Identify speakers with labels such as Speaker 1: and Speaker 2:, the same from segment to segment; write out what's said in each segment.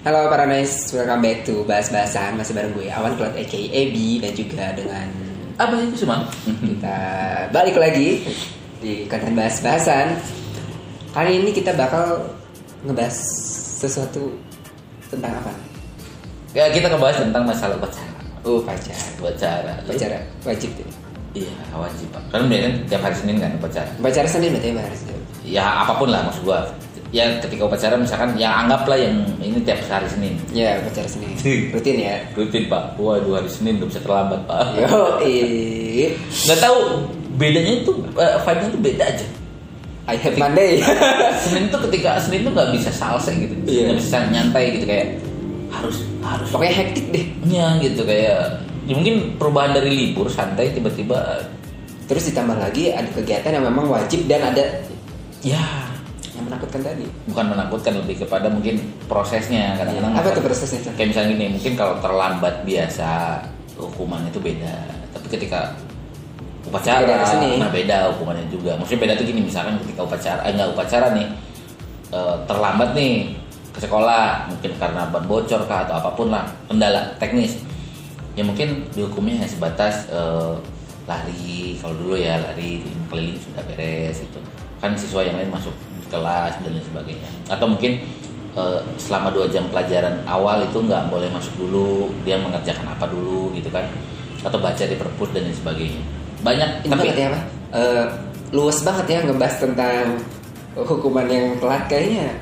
Speaker 1: Halo Paradise, welcome back to Bahas-Bahasan Masih bareng gue Awan Cloud aka Ebi Dan juga dengan
Speaker 2: Apa itu semang?
Speaker 1: kita balik lagi Di konten Bahas-Bahasan Kali ini kita bakal ngebahas sesuatu tentang apa?
Speaker 2: Ya, kita ngebahas tentang masalah pacaran.
Speaker 1: Oh pacar
Speaker 2: Pacaran. Lu-
Speaker 1: Pacar wajib ini
Speaker 2: Iya, wajib pak. Kan biasanya tiap hari Senin kan pacaran.
Speaker 1: Pacar Senin berarti ya harus
Speaker 2: Ya apapun lah maksud gua. Ya ketika pacaran misalkan ya anggaplah yang ini tiap hari Senin.
Speaker 1: Ya pacar Senin Rutin ya
Speaker 2: Rutin pak. Waduh hari Senin gak bisa terlambat pak.
Speaker 1: Yo, eh,
Speaker 2: Nggak tahu bedanya itu eh, vibe-nya tuh beda aja.
Speaker 1: I have Monday.
Speaker 2: Senin tuh ketika Senin tuh nggak bisa salsa gitu.
Speaker 1: Iya.
Speaker 2: Nggak bisa nyantai gitu kayak harus harus
Speaker 1: Pokoknya hektik deh.
Speaker 2: Iya gitu kayak ya mungkin perubahan dari libur santai tiba-tiba
Speaker 1: Terus ditambah lagi ada kegiatan yang memang wajib dan ada
Speaker 2: ya
Speaker 1: yang menakutkan tadi.
Speaker 2: bukan menakutkan lebih kepada mungkin prosesnya kadang-kadang
Speaker 1: Iya. Apa tuh
Speaker 2: masyarakat-
Speaker 1: prosesnya? Chan?
Speaker 2: kayak misalnya gini mungkin kalau terlambat biasa hukumannya itu beda tapi ketika upacara
Speaker 1: Beda di sini.
Speaker 2: nah beda hukumannya juga maksudnya beda tuh gini misalkan ketika upacara eh, nggak upacara nih eh, terlambat nih ke sekolah mungkin karena ban bocor kah atau apapun lah kendala teknis ya mungkin dihukumnya hanya sebatas eh, lari kalau dulu ya lari keliling sudah beres itu kan siswa yang lain masuk kelas dan lain sebagainya atau mungkin eh, selama dua jam pelajaran awal itu nggak boleh masuk dulu dia mengerjakan apa dulu gitu kan atau baca di perpus dan lain sebagainya
Speaker 1: Ini
Speaker 2: banyak
Speaker 1: banget ya, Pak. Eh, luas banget ya ngebahas tentang hukuman yang telat kayaknya.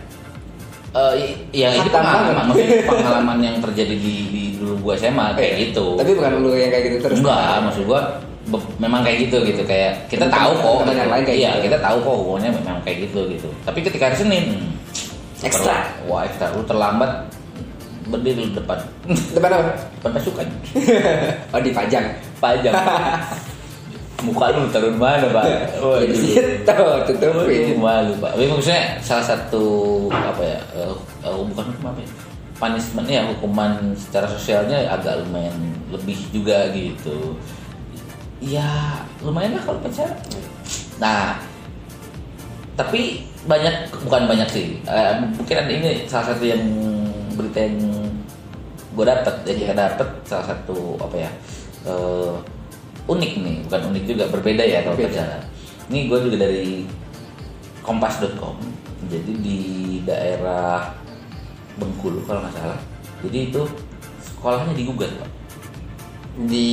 Speaker 2: Eh, i- ya itu
Speaker 1: Hatam banget.
Speaker 2: pengalaman, maksudnya pengalaman yang terjadi di, di dulu gua SMA kayak
Speaker 1: Eh,
Speaker 2: gitu.
Speaker 1: Tapi bukan lu yang kayak gitu terus.
Speaker 2: enggak, maksud gua be- memang kayak gitu gitu kayak kita
Speaker 1: Teman-teman-
Speaker 2: tahu kok
Speaker 1: teman-teman yang lain kayak
Speaker 2: iya,
Speaker 1: gitu.
Speaker 2: kita tahu kok hukumnya memang kayak gitu gitu. Tapi ketika hari Senin hmm,
Speaker 1: Ekstra.
Speaker 2: terla- wah, ekstra lu terlambat berdiri di depan
Speaker 1: Depan apa?
Speaker 2: depan pasukan
Speaker 1: oh, dipajang.
Speaker 2: panjang. Muka lu taruh di mana, Pak?
Speaker 1: Iya. Di situ Iya,
Speaker 2: Waduh,
Speaker 1: tutupin.
Speaker 2: malu pak. Tapi maksudnya salah satu apa ya? eh, eh, bukan hukum apa ya? Punishment ya hukuman secara sosialnya agak lumayan lebih juga gitu. Ya lumayan lah kalau pacaran. Nah, tapi banyak bukan banyak sih. Eh, mungkin ada ini salah satu yang berita yang gue dapet yang kita dapet salah satu apa ya eh, unik nih bukan unik juga berbeda ya kalau
Speaker 1: Berbeda.
Speaker 2: pacaran. Ini gue juga dari kompas.com. Jadi di daerah Bengkulu kalau nggak salah. Jadi itu sekolahnya digugat pak.
Speaker 1: Di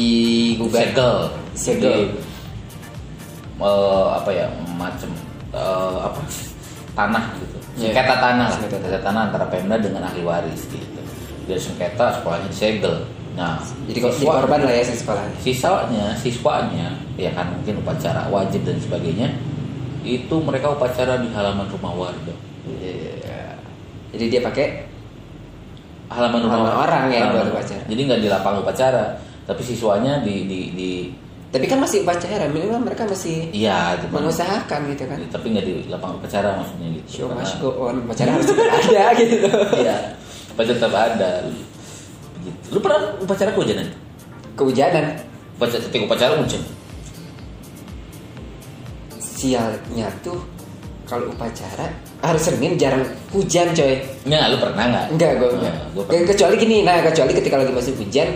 Speaker 1: gugat.
Speaker 2: Segel.
Speaker 1: Segel.
Speaker 2: Jadi, eh, apa ya macam eh, apa tanah gitu.
Speaker 1: Iya.
Speaker 2: Sengketa tanah lah.
Speaker 1: Sengketa
Speaker 2: Sengketa. tanah antara Pemda dengan ahli waris gitu. Dari sengketa sekolahnya disegel. Nah,
Speaker 1: Jadi kok jadi
Speaker 2: siswa-
Speaker 1: korban lah ya si sekolahnya.
Speaker 2: sisanya siswanya ya kan mungkin upacara wajib dan sebagainya itu mereka upacara di halaman rumah warga
Speaker 1: Iya. Jadi dia pakai
Speaker 2: halaman rumah
Speaker 1: Halaman orang ya
Speaker 2: Halaman
Speaker 1: buat
Speaker 2: rumah.
Speaker 1: upacara.
Speaker 2: jadi nggak di lapangan upacara tapi siswanya di di di
Speaker 1: tapi kan masih upacara minimal mereka masih
Speaker 2: iya cuman-
Speaker 1: mengusahakan gitu kan
Speaker 2: tapi nggak di lapangan upacara maksudnya gitu
Speaker 1: show
Speaker 2: Karena-
Speaker 1: must go on upacara harus tetap ada gitu
Speaker 2: iya upacara tetap ada gitu lu pernah upacara kehujanan
Speaker 1: kehujanan
Speaker 2: upacara ketika upacara hujan
Speaker 1: sialnya tuh kalau upacara harus Senin jarang hujan coy
Speaker 2: nggak lu pernah nggak
Speaker 1: enggak gue
Speaker 2: Nah,
Speaker 1: enggak
Speaker 2: gua
Speaker 1: Ke-
Speaker 2: pernah.
Speaker 1: kecuali gini nah kecuali ketika lagi masih hujan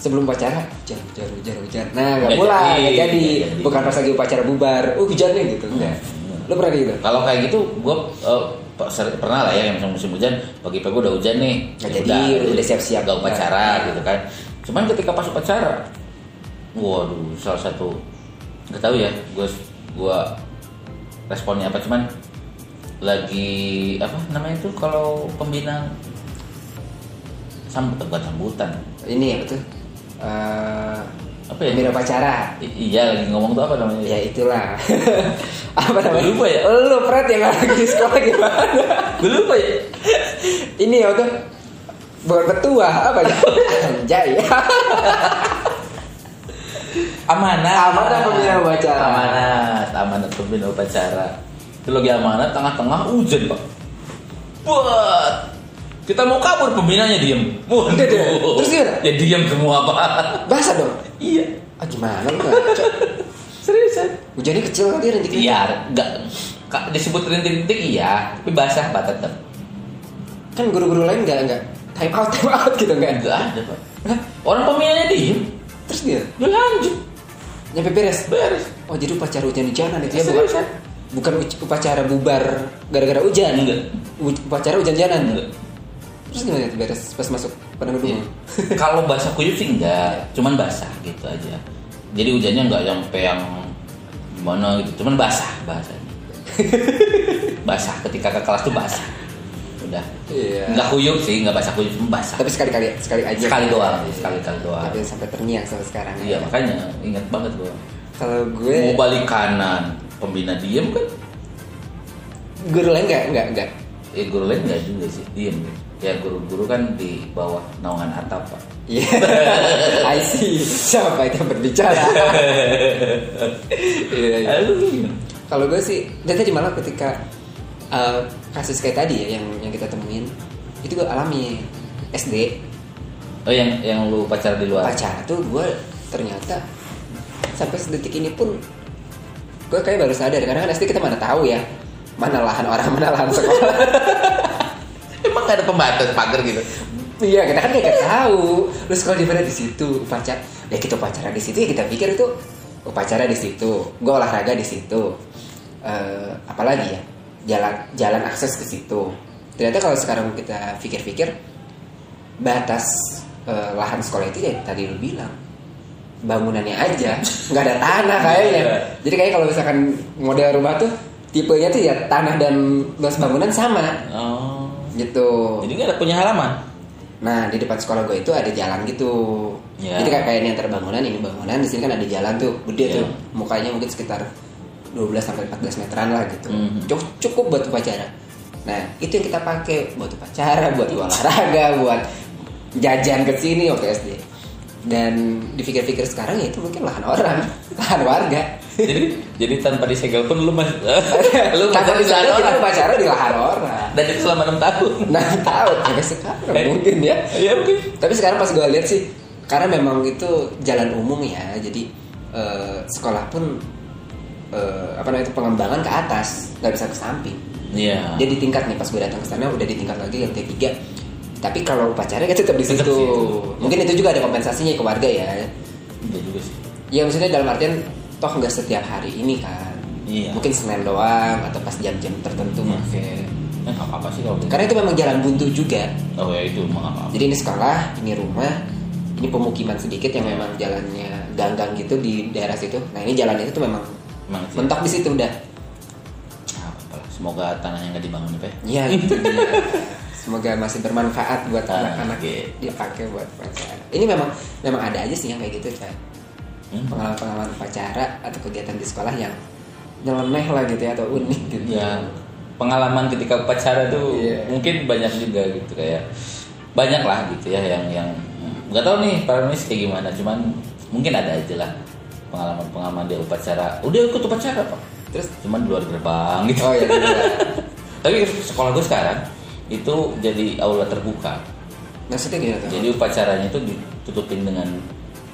Speaker 1: sebelum upacara hujan hujan hujan hujan nah nggak
Speaker 2: Nggak
Speaker 1: pulang
Speaker 2: jadi,
Speaker 1: nggak jadi
Speaker 2: nggak jadi.
Speaker 1: bukan pas lagi upacara bubar oh hujannya gitu enggak
Speaker 2: Hmm.
Speaker 1: lo pernah gitu
Speaker 2: Kalau kayak gitu, gue pernah lah ya yang misalnya musim hujan pagi-pagi udah hujan nih.
Speaker 1: Nggak
Speaker 2: Ya
Speaker 1: jadi, udah siap-siap. Nah.
Speaker 2: nggak upacara gitu kan. Cuman ketika pas upacara, waduh salah satu nggak tahu ya, gue gua responnya apa cuman lagi apa namanya itu kalau pembina sambut bukan sambutan
Speaker 1: ini ya betul Eh,
Speaker 2: apa ya?
Speaker 1: pembina upacara
Speaker 2: I- iya lagi ngomong tuh apa namanya?
Speaker 1: ya itulah apa namanya
Speaker 2: Lupa ya?
Speaker 1: lu Fred yang lagi sekolah gimana
Speaker 2: Gue lupa ya.
Speaker 1: ini ya udah bukan petua apa ya anjay
Speaker 2: amanah
Speaker 1: Amanah pembina upacara.
Speaker 2: amanat amanat pembina upacara itu lagi amanat tengah-tengah hujan pak buat kita mau kabur pembinanya diem Waduh.
Speaker 1: Udah deh, terus dia?
Speaker 2: ya diem semua pak
Speaker 1: bahasa dong
Speaker 2: iya
Speaker 1: ah gimana lu ngaco
Speaker 2: seriusan
Speaker 1: hujannya kecil kali rintik
Speaker 2: iya nggak ka- disebut rintik-rintik iya tapi basah pak tetap
Speaker 1: kan guru-guru lain nggak nggak time out time out gitu kan
Speaker 2: Nggak ada pak. Orang pemilihnya diem,
Speaker 1: terus dia
Speaker 2: dia lanjut
Speaker 1: nyampe beres
Speaker 2: beres.
Speaker 1: oh jadi upacara hujan-hujanan itu ya bukan
Speaker 2: Seriusan?
Speaker 1: bukan uc- upacara bubar gara-gara hujan
Speaker 2: Enggak.
Speaker 1: U- upacara hujan-hujanan
Speaker 2: Enggak.
Speaker 1: terus gimana tuh beres pas masuk pada gedung
Speaker 2: Iya. Kalau basah kuyup sih enggak, cuman basah gitu aja. Jadi hujannya enggak sampai yang gimana gitu, cuman basah bahasanya. basah ketika ke kelas tuh basah. Udah.
Speaker 1: Iya.
Speaker 2: Enggak kuyup sih, enggak basah kuyup, cuma basah.
Speaker 1: tapi sekali-kali ya, sekali aja
Speaker 2: Sekali doang, sekali-kali doang.
Speaker 1: tapi sampai terngiang sampai sekarang ya.
Speaker 2: Iya, makanya ingat banget gua.
Speaker 1: kalau
Speaker 2: Mau
Speaker 1: gue
Speaker 2: balik kanan, pembina diem kan?
Speaker 1: guru lain nggak nggak nggak
Speaker 2: Ya guru lain enggak juga sih, diem. Ya guru-guru kan di bawah naungan atap, Pak.
Speaker 1: Iya, I see. Siapa itu yang berbicara? Iya, iya.
Speaker 2: Aduh.
Speaker 1: Kalau gue sih, dan tadi malah ketika uh, kasus kayak tadi ya yang yang kita temuin, itu gue alami SD
Speaker 2: Oh yang yang lu pacar di luar.
Speaker 1: pacar tuh gue ternyata sampai sedetik ini pun gue kayak baru sadar karena kan SD kita mana tahu ya mana lahan orang mana lahan sekolah
Speaker 2: Emang nggak ada pembatas pagar gitu.
Speaker 1: iya kita kan nggak tahu lu sekolah di mana di situ upacara ya kita upacara di situ ya kita pikir itu upacara di situ gue olahraga di situ Eh, apalagi ya jalan jalan akses ke situ ternyata kalau sekarang kita pikir-pikir batas eh, lahan sekolah itu ya tadi lu bilang bangunannya aja nggak ada tanah kayaknya
Speaker 2: Iya.
Speaker 1: jadi kayak kalau misalkan model rumah tuh tipenya tuh ya tanah dan luas bangunan sama
Speaker 2: Oh.
Speaker 1: gitu
Speaker 2: Jadi nggak ada punya halaman.
Speaker 1: Nah di depan sekolah gue itu ada jalan gitu.
Speaker 2: Ya.
Speaker 1: Jadi kayak kayak ini antar bangunan ini bangunan di sini kan ada jalan tuh gede
Speaker 2: Ya.
Speaker 1: tuh mukanya mungkin sekitar 12 sampai 14 meteran lah gitu.
Speaker 2: Mhm.
Speaker 1: Cukup, cukup buat upacara. Nah itu yang kita pakai buat upacara, buat olahraga, buat jajan ke sini waktu SD. Dan dipikir-pikir sekarang ya itu mungkin lahan orang, lahan warga.
Speaker 2: jadi jadi tanpa disegel pun lu masih lu
Speaker 1: Kagak
Speaker 2: masih di
Speaker 1: bisa
Speaker 2: sana
Speaker 1: kita
Speaker 2: orang.
Speaker 1: upacara di lahan orang.
Speaker 2: Dan itu selama 6 tahun.
Speaker 1: Nah tahu sampai sekarang
Speaker 2: Eh.
Speaker 1: mungkin ya.
Speaker 2: Iya mungkin.
Speaker 1: Tapi sekarang pas gue lihat sih, karena memang itu jalan umum ya, jadi eh, sekolah pun eh, apa namanya itu pengembangan ke atas, nggak bisa ke samping.
Speaker 2: Iya.
Speaker 1: Dia di tingkat nih pas gue datang ke sana udah di tingkat lagi yang T3. Tapi kalau upacara kan tetap di
Speaker 2: Tetap
Speaker 1: situ.
Speaker 2: situ.
Speaker 1: Mungkin itu juga ada kompensasinya ke warga ya.
Speaker 2: Iya juga sih.
Speaker 1: Ya maksudnya dalam artian toh nggak setiap hari ini kan.
Speaker 2: Iya.
Speaker 1: Mungkin Senin doang atau pas jam-jam tertentu
Speaker 2: Hmm.
Speaker 1: pakai.
Speaker 2: Ya nggak apa-apa sih kalau
Speaker 1: Karena itu memang jalan buntu juga.
Speaker 2: Oh ya itu mah nggak apa-apa.
Speaker 1: Jadi ini sekolah, ini rumah, ini pemukiman sedikit yang memang jalannya ganggang gitu di daerah situ. Nah ini jalan itu tuh memang
Speaker 2: Emang sih.
Speaker 1: mentok di situ udah.
Speaker 2: Nggak apa-apa lah. Semoga tanahnya nggak dibangun apa ya.
Speaker 1: Iya. itu dia. Semoga masih bermanfaat buat
Speaker 2: Ah,
Speaker 1: anak-anak
Speaker 2: oke.
Speaker 1: dipakai buat pacaran. Ini memang memang ada aja sih yang kayak gitu kan.
Speaker 2: Hmm.
Speaker 1: Pengalaman-pengalaman pacara atau kegiatan di sekolah yang nyeleneh lah gitu ya atau unik gitu.
Speaker 2: Ya pengalaman ketika pacaran tuh
Speaker 1: Iya.
Speaker 2: mungkin banyak juga gitu kayak banyak lah gitu ya yang yang nggak tahu nih para nulis kayak gimana cuman mungkin ada aja lah pengalaman pengalaman dia upacara udah ikut upacara pak
Speaker 1: Terus
Speaker 2: cuman di luar gerbang gitu
Speaker 1: oh ya gitu.
Speaker 2: tapi sekolah gue sekarang itu jadi aula terbuka
Speaker 1: Maksudnya gimana tuh?
Speaker 2: jadi upacaranya itu ditutupin dengan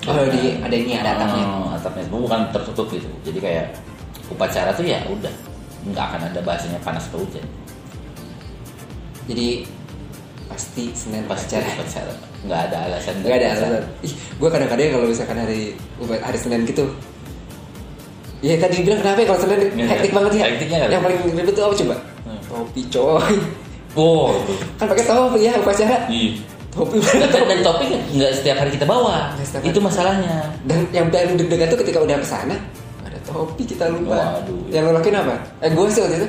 Speaker 1: Oh, di- ada ini, ada atapnya.
Speaker 2: Oh, atapnya bukan tertutup gitu jadi kayak upacara tuh ya udah nggak akan ada bahasanya panas atau hujan
Speaker 1: Jadi pasti Senin
Speaker 2: pas
Speaker 1: pacaran.
Speaker 2: upacara nggak ada alasan
Speaker 1: Gak ada alasan. Ih, gue kadang-kadang kalau misalkan hari hari Senin gitu. Ya tadi bilang kenapa ya kalau Senin
Speaker 2: Iya,
Speaker 1: hektik
Speaker 2: iya.
Speaker 1: banget ya.
Speaker 2: Hektiknya kali.
Speaker 1: Yang paling ribet tuh apa coba?
Speaker 2: Hmm.
Speaker 1: Topi coy.
Speaker 2: wow itu.
Speaker 1: Kan pakai topi ya upacara.
Speaker 2: Iya.
Speaker 1: Topi
Speaker 2: dan topik nggak setiap hari kita bawa
Speaker 1: Nggak setiap hari.
Speaker 2: itu masalahnya
Speaker 1: Dan yang paling deg-degan tuh ketika udah kesana ada topi kita lupa.
Speaker 2: Waduh. iya.
Speaker 1: Yang lo lakuin apa? Eh gue sih waktu itu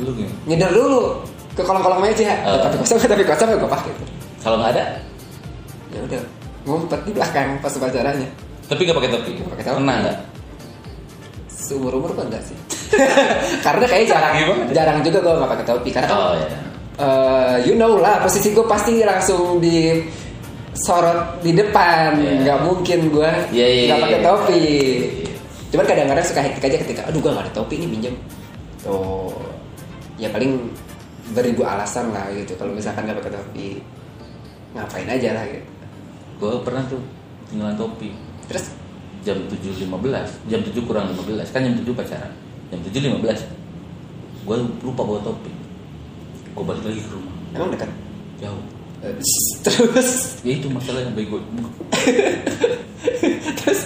Speaker 2: lu gimana
Speaker 1: nyender dulu ke kolong-kolong meja.
Speaker 2: Oh.
Speaker 1: Tapi kosong, tapi kosong gue pakai. tuh.
Speaker 2: kalau nggak ada
Speaker 1: Ya udah ngumpet di belakang pas upacaranya.
Speaker 2: tapi nggak pakai topi
Speaker 1: Nggak pakai topi.
Speaker 2: pernah nggak
Speaker 1: seumur umur kan enggak sih karena kayaknya jarang
Speaker 2: Gimana?
Speaker 1: jarang juga gue nggak pakai topi karena kan,
Speaker 2: oh ya
Speaker 1: eh, you know lah posisi gue pasti langsung di sorot di depan
Speaker 2: Iya.
Speaker 1: nggak mungkin gue
Speaker 2: Iya,
Speaker 1: nggak
Speaker 2: iya, iya,
Speaker 1: pakai
Speaker 2: iya.
Speaker 1: topi
Speaker 2: Iya.
Speaker 1: cuman kadang-kadang suka hektik aja ketika aduh gue nggak ada topi ini pinjam tuh ya paling beribu alasan lah gitu kalau misalkan nggak pakai topi ngapain aja lah gitu
Speaker 2: gue pernah tuh tinggalan topi
Speaker 1: terus
Speaker 2: jam 7.15 jam 7 kurang 15 kan jam 7 pacaran jam 7.15 gue lupa bawa topi gue balik lagi ke rumah
Speaker 1: emang dekat
Speaker 2: jauh
Speaker 1: Eh, terus
Speaker 2: ya itu masalahnya bego
Speaker 1: Terus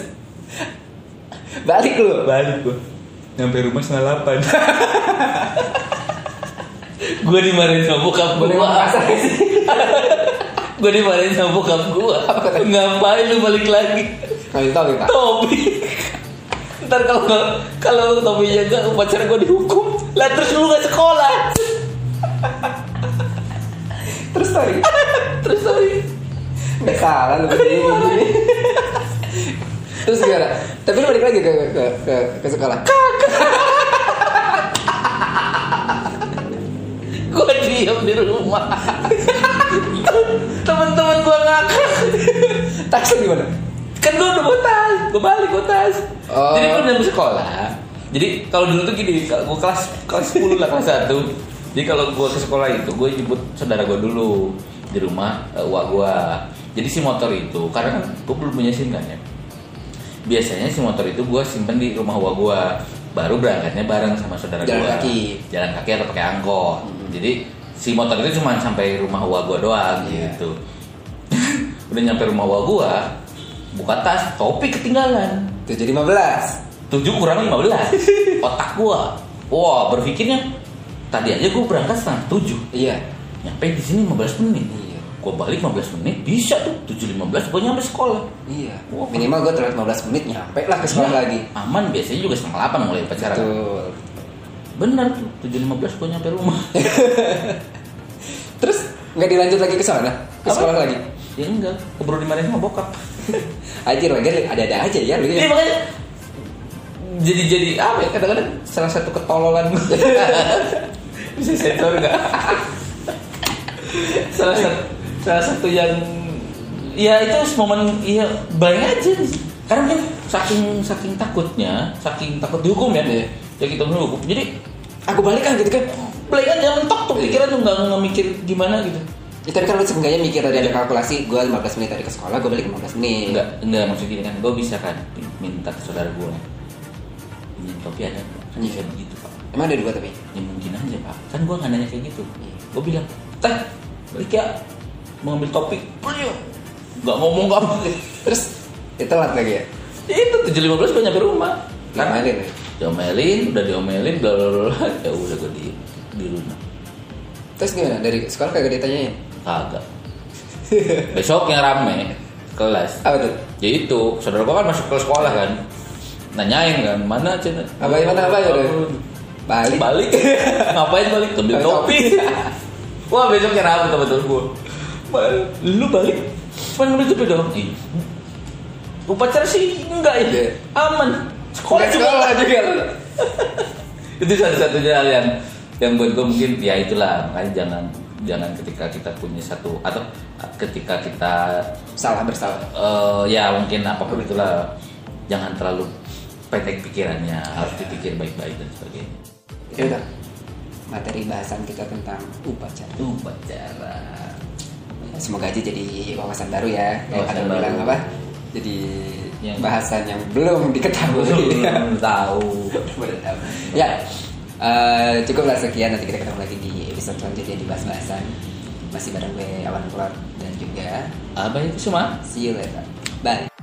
Speaker 1: balik lu.
Speaker 2: balik gua nyampe rumah setengah delapan gua dimarahin sama bokap
Speaker 1: Boleh
Speaker 2: gua
Speaker 1: merasa nggak sih?
Speaker 2: gua dimarahin sama bokap gua ngapain lu balik lagi
Speaker 1: Kali tau kita.
Speaker 2: Tobi ntar kalau kalau Tobi jaga upacara gua dihukum lah terus lu gak sekolah
Speaker 1: Terus sorry.
Speaker 2: terus sorry
Speaker 1: Nggak salah lu begini begini. Terus gimana? Tapi lu balik lagi ke ke ke, ke sekolah.
Speaker 2: gua diam di rumah teman-teman gua ngakak
Speaker 1: Taksi gimana?
Speaker 2: kan gue udah bawa tas gue balik bawa tas
Speaker 1: Oh.
Speaker 2: jadi gue udah mau sekolah jadi kalau dulu tuh gini kalau gue kelas kelas 10 lah kelas 1 jadi kalau gue ke sekolah itu gue jemput saudara gue dulu di rumah eh, uak gue jadi si motor itu karena kan gue belum punya SIM kan ya biasanya si motor itu gue simpen di rumah uak gue baru berangkatnya bareng sama saudara
Speaker 1: Jalan
Speaker 2: gua.
Speaker 1: kaki.
Speaker 2: jalan kaki atau pakai angkot
Speaker 1: Hmm.
Speaker 2: jadi si motor itu cuma sampai rumah uak gue doang
Speaker 1: Iya.
Speaker 2: gitu udah nyampe rumah uak gue buka tas topi ketinggalan
Speaker 1: 7.15.
Speaker 2: 7 kurang 15 otak gua wah berpikirnya tadi aja gua berangkat setengah 7
Speaker 1: Iya.
Speaker 2: nyampe di sini 15 menit
Speaker 1: Iya.
Speaker 2: gua balik 15 menit bisa tuh 7.15 gua nyampe sekolah
Speaker 1: Iya.
Speaker 2: Wah.
Speaker 1: Minimal gue telat 15 menit nyampe lah ke sekolah
Speaker 2: Iya,
Speaker 1: lagi.
Speaker 2: aman biasanya juga setengah 8 mulai upacara
Speaker 1: Betul.
Speaker 2: bener tuh 7.15 gua nyampe rumah
Speaker 1: Terus nggak dilanjut lagi ke sana? Ke
Speaker 2: Apa?
Speaker 1: sekolah lagi?
Speaker 2: ya enggak keburu dimarahin sama bokap
Speaker 1: Anjir, wajar ada-ada aja ya lu
Speaker 2: Jadi
Speaker 1: ya.
Speaker 2: Iya, makanya jadi jadi apa ya kadang-kadang salah satu ketololan gua. bisa sensor nggak? salah satu salah satu yang ya itu momen ya banyak aja sih. karena kan saking saking takutnya saking takut dihukum ya
Speaker 1: Iya.
Speaker 2: ya kita dihukum jadi
Speaker 1: Aku balik kan gitu kan.
Speaker 2: play aja mentok tuh pikiran tuh nggak nggak mikir gimana gitu
Speaker 1: Ya, tapi kan lu seenggaknya mikir tadi ada kalkulasi, gue 15 menit tadi ke sekolah, gue balik 15 menit.
Speaker 2: Iya. enggak enggak maksud gini kan gue bisa kan minta ke saudara gue pinjam topi ada nggak? kan bisa
Speaker 1: Iya.
Speaker 2: begitu pak
Speaker 1: Emang ada dua tapi?
Speaker 2: ya mungkin aja pak kan gue nggak nanya kayak gitu
Speaker 1: Iya.
Speaker 2: gue bilang teh balik ya mau ambil topik beliau nggak ngomong nggak apa
Speaker 1: Terus, ya telat lagi ya?
Speaker 2: itu tujuh lima belas gue nyampe rumah kan
Speaker 1: Ngamalin ya?
Speaker 2: diomelin udah diomelin bla bla bla bla. ya udah gue di di rumah
Speaker 1: Terus gimana? Dari sekolah kagak ditanyain?
Speaker 2: kagak besoknya rame kelas
Speaker 1: Apa tuh?
Speaker 2: ya itu saudara gue kan masuk ke sekolah kan nanyain kan mana cina gitu.
Speaker 1: Apa mana apa ya? udah? Balik.
Speaker 2: balik ngapain balik ambil
Speaker 1: Ambil
Speaker 2: topi wah besoknya rabu teman-teman gue lu balik cuma ngambil topi doang Iya. upacara sih enggak
Speaker 1: Iya.
Speaker 2: ya aman sekolah
Speaker 1: Nggak
Speaker 2: juga
Speaker 1: sekolah juga.
Speaker 2: itu satu-satunya hal yang yang buat gue mungkin ya itulah makanya jangan jangan ketika kita punya satu atau ketika kita
Speaker 1: Salah bersalah.
Speaker 2: eh, ya mungkin apapun itulah jangan terlalu pendek pikirannya harus dipikir baik-baik dan sebagainya
Speaker 1: Itu Ya udah materi bahasan kita tentang upacara.
Speaker 2: itu upacara
Speaker 1: Semoga aja jadi wawasan baru ya. Yang
Speaker 2: Wawasan
Speaker 1: ada
Speaker 2: baru.
Speaker 1: bilang apa? Jadi
Speaker 2: Yang-
Speaker 1: bahasan yang belum diketahui.
Speaker 2: belum tahu
Speaker 1: ya, eh, cukuplah sekian. Nanti kita ketemu lagi di episode selanjutnya di bahas bahasan. Masih bareng gue Awan Klor dan juga
Speaker 2: apa itu semua
Speaker 1: see you later. Bye.